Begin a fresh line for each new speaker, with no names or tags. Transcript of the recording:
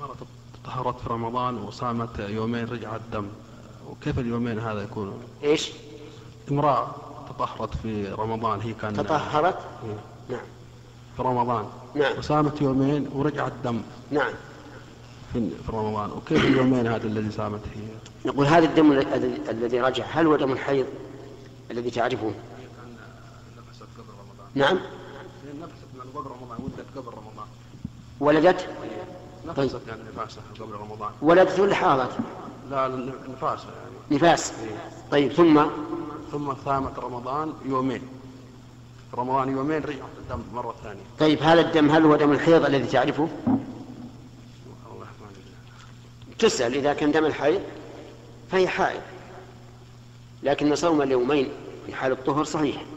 مرة طهرت في رمضان وصامت يومين رجع الدم وكيف اليومين هذا يكون
ايش
امرأة تطهرت في رمضان هي كان
تطهرت نعم
في رمضان
نعم.
وصامت يومين ورجع الدم
نعم
في في رمضان وكيف اليومين هذا الذي صامت هي
نقول هذا الدم ال- ال- الذي رجع هل هو دم الحيض الذي تعرفه
نفست قبل رمضان إيه،
نعم
نفست من قبل رمضان ودت قبل رمضان
ولدت
نفست يعني نفاسة قبل رمضان
ولدت ولا حاضت
لا نفاسة يعني
نفاس طيب ثم
ثم صامت رمضان يومين في رمضان يومين رجعت الدم مرة ثانية
طيب هذا الدم هل هو دم الحيض الذي تعرفه
الله ما أدري.
تسأل إذا كان دم الحيض فهي حائض لكن صوم اليومين في حال الطهر صحيح